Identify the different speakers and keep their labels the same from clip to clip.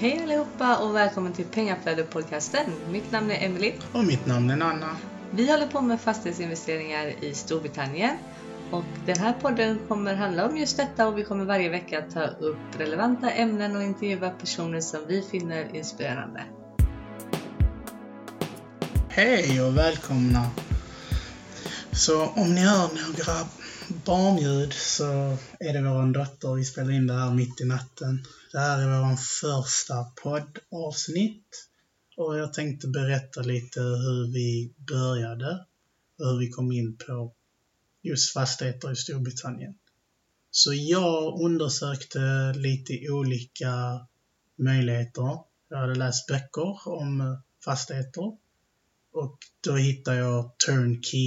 Speaker 1: Hej allihopa och välkommen till Pengaflödet-podcasten. Mitt namn är Emily.
Speaker 2: Och mitt namn är Nanna.
Speaker 1: Vi håller på med fastighetsinvesteringar i Storbritannien och den här podden kommer handla om just detta och vi kommer varje vecka ta upp relevanta ämnen och intervjua personer som vi finner inspirerande.
Speaker 2: Hej och välkomna. Så om ni hör några barnljud så är det vår dotter. Vi spelar in det här mitt i natten. Det här är vår första poddavsnitt. Och jag tänkte berätta lite hur vi började och hur vi kom in på just fastigheter i Storbritannien. Så jag undersökte lite olika möjligheter. Jag hade läst böcker om fastigheter och då hittade jag Turnkey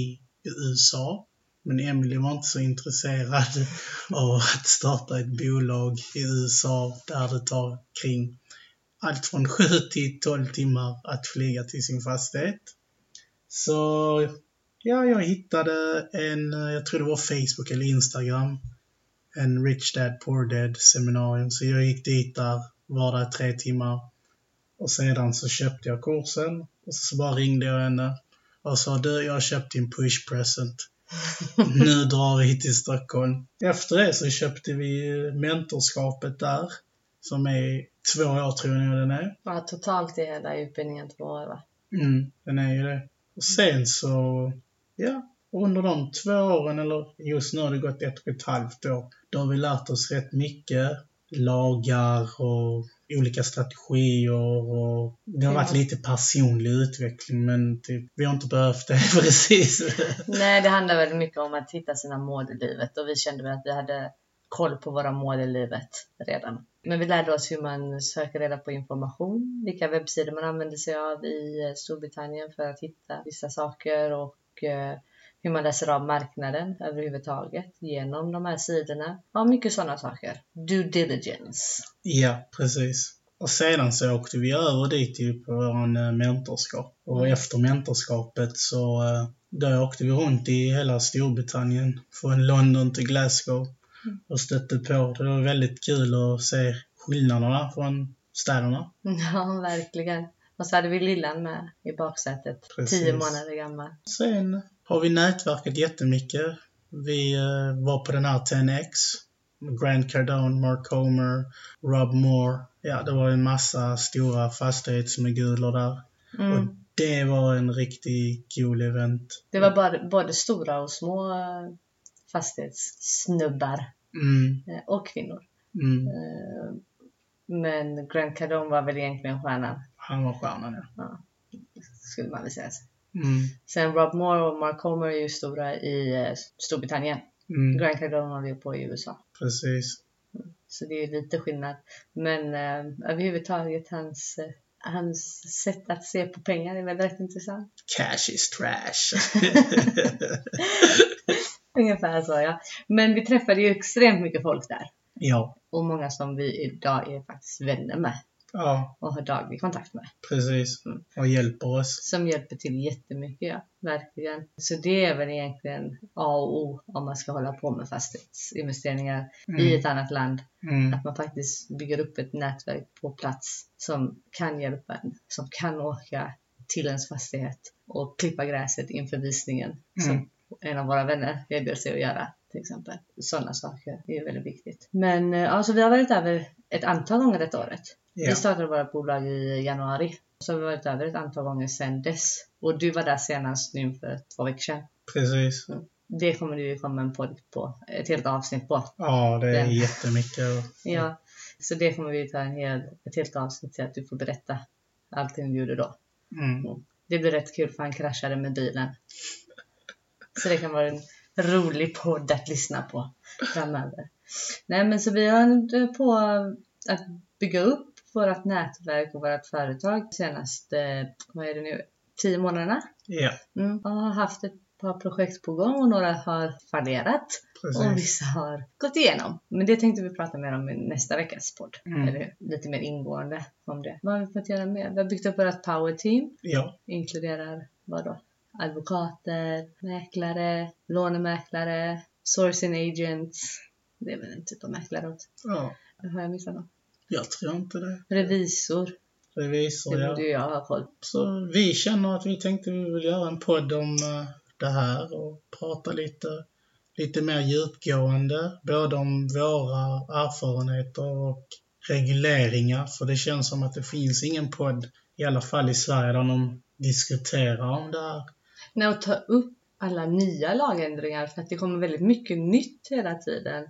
Speaker 2: i USA. Men Emily var inte så intresserad av att starta ett bolag i USA där det tar kring allt från 7 till 12 timmar att flyga till sin fastighet. Så ja, jag hittade en, jag tror det var Facebook eller Instagram, en Rich Dad Poor Dad seminarium. Så jag gick dit där, var där tre timmar och sedan så köpte jag kursen och så bara ringde jag henne och sa du, jag har köpt din push present. nu drar vi till Stockholm. Efter det så köpte vi mentorskapet där. Som är två år tror jag den är.
Speaker 1: Ja, totalt är hela utbildningen två år va?
Speaker 2: Mm, den är ju det. Och sen så, ja, under de två åren, eller just nu har det gått ett och ett halvt år, då har vi lärt oss rätt mycket. Lagar och olika strategier och det har varit
Speaker 1: Ja.
Speaker 2: lite personlig utveckling men typ, vi har inte behövt det precis.
Speaker 1: Nej, det handlar väldigt mycket om att hitta sina mål i livet och vi kände väl att vi hade koll på våra mål i livet redan. Men vi lärde oss hur man söker reda på information, vilka webbsidor man använder sig av i eh, Storbritannien för att hitta vissa saker och eh, hur man läser av marknaden överhuvudtaget genom de här sidorna. Ja, mycket sådana saker. Due diligence.
Speaker 2: Ja, precis. Och sedan så åkte vi över dit ju på vår eh, mentorskap. Och efter mentorskapet så eh, då åkte vi runt i hela Storbritannien. Från London till Glasgow. Och stötte på. Det var väldigt kul att se skillnaderna från städerna.
Speaker 1: Ja, verkligen. Och så hade vi Lillan med i baksätet, tio
Speaker 2: Precis.
Speaker 1: månader gammal.
Speaker 2: Sen har vi nätverkat jättemycket. Vi eh, var på den här 10X. Grant Cardone, Mark Homer, Rob Moore. Ja, det var en massa stora fastighetsmoguler där.
Speaker 1: Mm.
Speaker 2: Och det var en riktigt cool event.
Speaker 1: Det var bara, både stora och små eh, fastighetssnubbar
Speaker 2: Mm,
Speaker 1: eh, och kvinnor.
Speaker 2: mm.
Speaker 1: Eh, Men Grant Cardone var väl egentligen stjärnan,
Speaker 2: Han var stjärnan, ja.
Speaker 1: skulle man väl säga.
Speaker 2: Mm,
Speaker 1: Sen Rob Moore och Mark Homer är ju stora i eh, Storbritannien.
Speaker 2: mm,
Speaker 1: Grant Cardone håller ju på i USA.
Speaker 2: precis.
Speaker 1: Så det är ju lite skillnad. Men eh, överhuvudtaget hans, eh, hans sätt att se på pengar är väl rätt intressant.
Speaker 2: Cash is trash.
Speaker 1: Ungefär så ja. Men vi träffade ju extremt mycket folk där.
Speaker 2: ja,
Speaker 1: Och många som vi idag är faktiskt vänner med.
Speaker 2: ja,
Speaker 1: och har daglig kontakt med.
Speaker 2: precis.
Speaker 1: Mm.
Speaker 2: Och hjälper oss.
Speaker 1: Som hjälper till jättemycket, ja. Verkligen. Så det är väl egentligen A och O om man ska hålla på med fastighetsinvesteringar i ett annat land.
Speaker 2: Mm,
Speaker 1: Att man faktiskt bygger upp ett nätverk på plats som kan hjälpa en, som kan åka till ens fastighet och klippa gräset inför visningen. Som
Speaker 2: Mm.
Speaker 1: en av våra vänner erbjöd sig att göra till exempel. Sådana saker är ju väldigt viktigt. Men eh, ja, så vi har varit över ett antal gånger detta året. Vi
Speaker 2: ja,
Speaker 1: startade våra bolag i januari. Så har vi varit över ett antal gånger sedan dess. Och du var där senast nu för två veckor sedan.
Speaker 2: precis.
Speaker 1: Det kommer du ju komma en podd på, ett helt avsnitt på.
Speaker 2: Ja, det är
Speaker 1: Den.
Speaker 2: jättemycket.
Speaker 1: Ja, så det kommer vi ta en hel, ett helt avsnitt till att du får berätta allting du gjorde då.
Speaker 2: Mm.
Speaker 1: Det blir rätt kul för han kraschade med bilen. Så det kan vara en rolig podd att lyssna på framöver. Nej men så vi har på att bygga upp vårt nätverk och vårt företag de senaste, vad är det nu, tio månaderna.
Speaker 2: Ja,
Speaker 1: Mm. Jag har haft ett par projekt på gång och några har fallerat och
Speaker 2: precis.
Speaker 1: vissa har gått igenom. Men det tänkte vi prata mer om i nästa veckas podd.
Speaker 2: Mm.
Speaker 1: Eller hur? lite mer ingående om det. Vad har vi fått göra mer? Vi har byggt upp vårt power team
Speaker 2: Ja,
Speaker 1: inkluderar vad då? Advokater, mäklare, lånemäklare, sourcing agents. Det är väl en typ av mäklare också.
Speaker 2: ja.
Speaker 1: Har jag missat något?
Speaker 2: Jag tror inte det.
Speaker 1: Revisor,
Speaker 2: Revisor,
Speaker 1: det
Speaker 2: ja.
Speaker 1: borde ju jag ha koll på.
Speaker 2: Så vi känner att vi tänkte vi vill göra en podd om eh, det här och prata lite, lite mer djupgående. Både om våra erfarenheter och regleringar. För det känns som att det finns ingen podd, i alla fall i Sverige, där någon diskuterar om det här.
Speaker 1: Nej, och ta upp alla nya lagändringar för att det kommer väldigt mycket nytt hela tiden.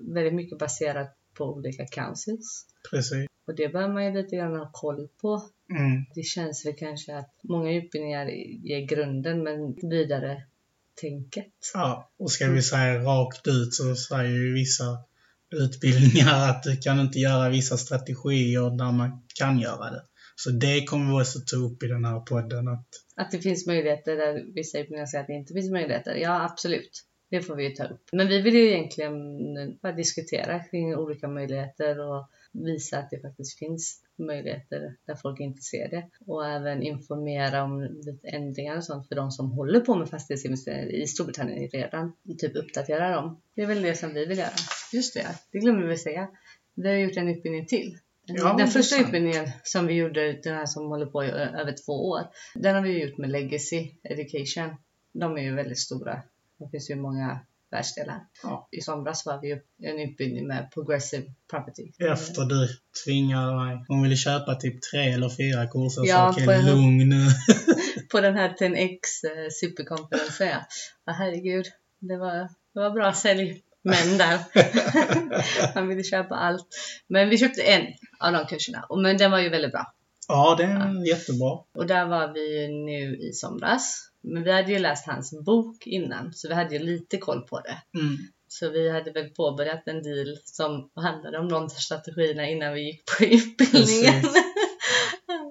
Speaker 1: Väldigt mycket baserat på olika councils.
Speaker 2: Precis.
Speaker 1: Och det bör man ju lite grann ha koll på.
Speaker 2: Mm.
Speaker 1: Det känns väl kanske att många utbildningar ger grunden men vidare tänket.
Speaker 2: Ja, och ska
Speaker 1: Mm.
Speaker 2: vi säga rakt ut så säger ju vissa utbildningar att du kan inte göra vissa strategier där man kan göra det. Så det kommer vi också ta upp i den här podden. Att
Speaker 1: Att det finns möjligheter där vissa utbildningar säger att det inte finns möjligheter. Ja, absolut. Det får vi ju ta upp. Men vi vill ju egentligen eh, bara diskutera kring olika möjligheter och visa att det faktiskt finns möjligheter där folk inte ser det. Och även informera om lite ändringar och sånt för de som håller på med fastighetsinvesteringar i Storbritannien redan. Typ uppdatera dem. Det är väl det som vi vill göra. Just det, det glömde vi säga. Vi har gjort en utbildning till.
Speaker 2: Ja,
Speaker 1: den
Speaker 2: intressant.
Speaker 1: första utbildningen som vi gjorde, den här som håller på i ö- över två år, den har vi ju gjort med Legacy Education. De är ju väldigt stora. Det finns ju många världsdelar.
Speaker 2: Ja.
Speaker 1: I somras var vi ju en utbildning med Progressive Property.
Speaker 2: efter du tvingade mig. Hon ville köpa typ tre eller fyra kurser.
Speaker 1: Ja,
Speaker 2: så okej,
Speaker 1: får jag-
Speaker 2: lugn nu.
Speaker 1: På den här 10X eh, superkonferensen. Ja, Ja, herregud. Det var, det var bra sälj. Men där. Han ville köpa allt. Men vi köpte en av de kurserna. Och- Men den var ju väldigt bra.
Speaker 2: Ja, det är jättebra.
Speaker 1: Och där var vi ju nu i somras. Men vi hade ju läst hans bok innan, så vi hade ju lite koll på det.
Speaker 2: Mm.
Speaker 1: Så vi hade väl påbörjat en deal som handlade om de strategierna innan vi gick på utbildningen.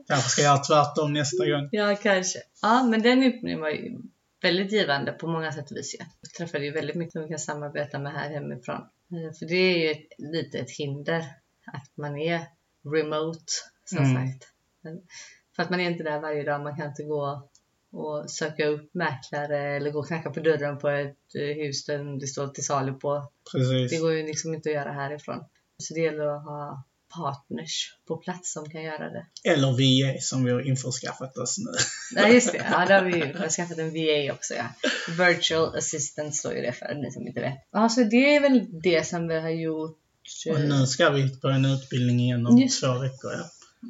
Speaker 2: Kanske ska jag göra tvärtom nästa gång.
Speaker 1: ja, kanske. Ja, men den utbildningen var ju väldigt givande på många sätt och vis. ju. Jag träffade ju väldigt mycket som vi kan samarbeta med här hemifrån. Eh, För det är ju ett, lite ett hinder att man är remote, som
Speaker 2: Mm.
Speaker 1: sagt. Men- För att man är inte där varje dag, man kan inte gå och söka upp mäklare eller gå och knacka på dörren på ett eh, hus där det står till salu på det
Speaker 2: Precis.
Speaker 1: går ju liksom inte att göra härifrån. Så det gäller att ha partners på plats som kan göra det.
Speaker 2: Eller VA som vi har införskaffat oss nu.
Speaker 1: Ja just det, ja, det har vi ju. Vi har skaffat en VA också ja. Virtual assistant står ju det för, ni som inte vet. Ja, så det är väl det som vi har gjort. eh,
Speaker 2: Och nu ska vi på en utbildning igen om
Speaker 1: Just
Speaker 2: två veckor. Ja.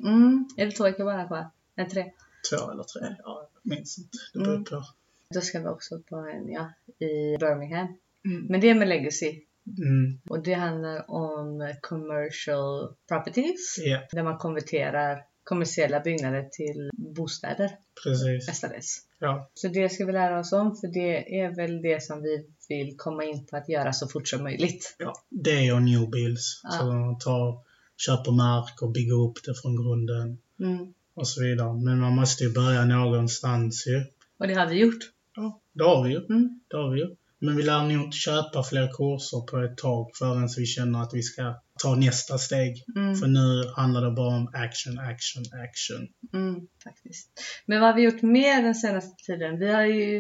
Speaker 1: Mm, är det två veckor bara kvar? Nej, tre.
Speaker 2: Två eller tre. Ja, jag minns inte. Det beror
Speaker 1: Mm.
Speaker 2: på.
Speaker 1: Då ska vi också på en, ja, i Birmingham.
Speaker 2: Mm.
Speaker 1: Men det är med legacy.
Speaker 2: Mm.
Speaker 1: Och det handlar om commercial properties.
Speaker 2: Ja,
Speaker 1: Där man konverterar kommersiella byggnader till bostäder
Speaker 2: precis.
Speaker 1: mestadels.
Speaker 2: Ja.
Speaker 1: Så det ska vi lära oss om, för det är väl det som vi vill komma in på att göra så fort som möjligt.
Speaker 2: ja. Det och new builds.
Speaker 1: Ja.
Speaker 2: Så man tar, köper mark och bygger upp det från grunden
Speaker 1: Mm.
Speaker 2: och så vidare. Men man måste ju börja någonstans ju.
Speaker 1: Och det har vi gjort.
Speaker 2: Ja, det har vi ju.
Speaker 1: Mm.
Speaker 2: Det har vi ju. Men vi lär nog inte köpa fler kurser på ett tag förrän vi känner att vi ska ta nästa steg.
Speaker 1: Mm.
Speaker 2: För nu handlar det bara om action, action, action.
Speaker 1: Mm, faktiskt. Men vad har vi gjort mer den senaste tiden? Vi har ju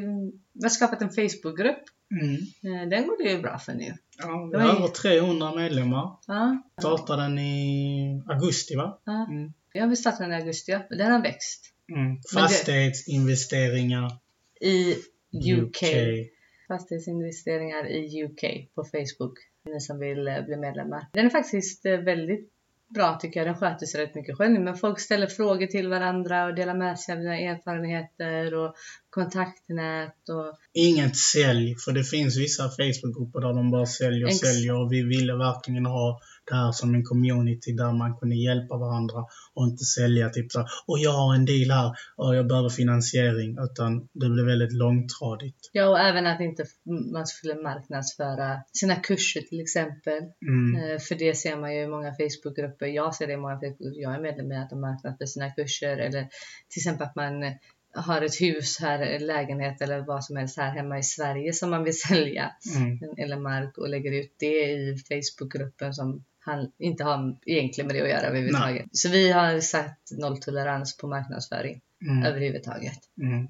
Speaker 1: vi har skapat en Facebookgrupp.
Speaker 2: Mm.
Speaker 1: Eh, Den går det ju bra för nu.
Speaker 2: Ja, vi
Speaker 1: Det
Speaker 2: har
Speaker 1: var ju-
Speaker 2: över 300 medlemmar.
Speaker 1: Ja,
Speaker 2: Startade den i augusti va?
Speaker 1: ja.
Speaker 2: Mm.
Speaker 1: ja vi startade den i augusti ja. Den har växt.
Speaker 2: Mm. Fastighetsinvesteringar
Speaker 1: I UK.
Speaker 2: UK.
Speaker 1: Fastighetsinvesteringar i UK på Facebook. Ni som vill eh, bli medlemmar. Den är faktiskt eh, väldigt bra tycker jag. Den sköter sig rätt mycket själv nu, men folk ställer frågor till varandra och delar med sig av sina erfarenheter och kontaktnät och
Speaker 2: Inget sälj, för det finns vissa Facebookgrupper där de bara säljer och
Speaker 1: Ex-
Speaker 2: säljer. Och vi ville verkligen ha det här som en community där man kunde hjälpa varandra och inte sälja typ så här, och jag har en deal här och jag behöver finansiering. Utan det blev väldigt långtradigt.
Speaker 1: ja, och även att inte f- man skulle marknadsföra sina kurser till exempel.
Speaker 2: Mm.
Speaker 1: Eh, För det ser man ju i många Facebookgrupper. Jag ser det i många Facebookgrupper jag är medlem i, att de marknadsför sina kurser eller till exempel att man eh, har ett hus här, en lägenhet eller vad som helst här hemma i Sverige som man vill sälja
Speaker 2: Mm.
Speaker 1: eller mark och lägger ut det i Facebookgruppen som han inte har egentligen med det att göra överhuvudtaget. Så vi har satt nolltolerans på marknadsföring
Speaker 2: Mm.
Speaker 1: överhuvudtaget.
Speaker 2: Mm.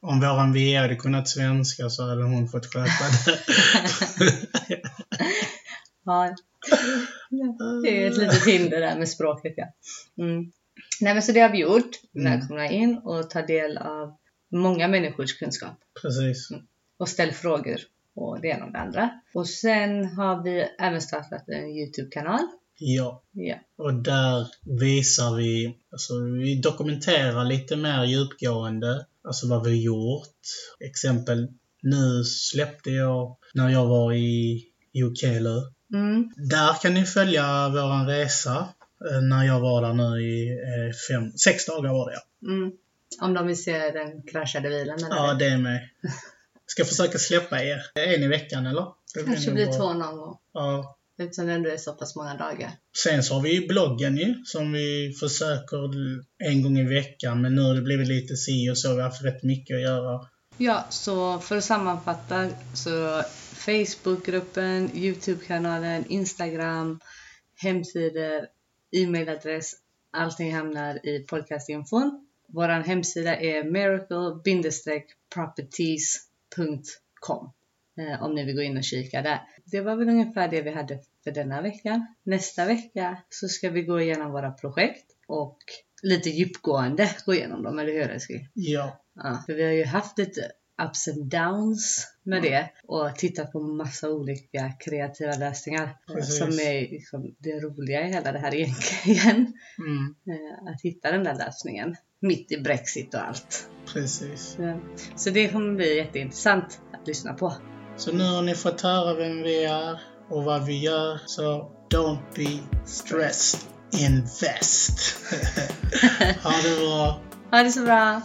Speaker 2: Om våran VA hade kunnat svenska så hade hon fått sköta det.
Speaker 1: Ja. Det är ett litet hinder där med språket ja. Mm. Nej men så det har vi gjort.
Speaker 2: Mm.
Speaker 1: Välkomna in och ta del av många människors kunskap
Speaker 2: Precis.
Speaker 1: och ställ frågor och det ena och det andra. Och sen har vi även startat en Youtube-kanal.
Speaker 2: Ja.
Speaker 1: Ja.
Speaker 2: Och där visar vi, alltså vi dokumenterar lite mer djupgående, alltså vad vi gjort. Exempel, nu släppte jag, när jag var i UK nu,
Speaker 1: Mm.
Speaker 2: Där kan ni följa våran resa. eh, När jag var där nu i eh, fem, sex dagar var det ja.
Speaker 1: Mm. Om de vill se den kraschade bilen eller?
Speaker 2: Ja, det är med. Ska försöka släppa er. En i veckan eller? Det
Speaker 1: kanske
Speaker 2: nog
Speaker 1: blir
Speaker 2: bra.
Speaker 1: två någon gång.
Speaker 2: Ja.
Speaker 1: Eftersom det ändå är så pass många dagar.
Speaker 2: Sen så har vi ju bloggen ju, som vi försöker en gång i veckan. Men nu har det blivit lite si och så. Vi har haft rätt mycket att göra.
Speaker 1: Ja, så för att sammanfatta så Facebookgruppen, Youtube-kanalen, Instagram, hemsidor, e-mailadress. Allting hamnar i podcastinfon. Vår hemsida är miracle-properties.com eh, om ni vill gå in och kika där. Det var väl ungefär det vi hade för denna vecka. Nästa vecka så ska vi gå igenom våra projekt och lite djupgående gå igenom dem, eller hur älskling?
Speaker 2: Ja.
Speaker 1: Ja, för vi har ju haft lite ups and downs med det och tittat på massa olika kreativa lösningar
Speaker 2: Precis.
Speaker 1: som är liksom det roliga i hela det här egentligen.
Speaker 2: Mm,
Speaker 1: Eh, Att hitta den där lösningen mitt i Brexit och allt.
Speaker 2: precis.
Speaker 1: Så- Så det kommer bli jätteintressant att lyssna på.
Speaker 2: Så nu har ni fått höra vem vi är och vad vi gör. Så don't be stressed. Invest. ha det bra.
Speaker 1: Ha det så bra!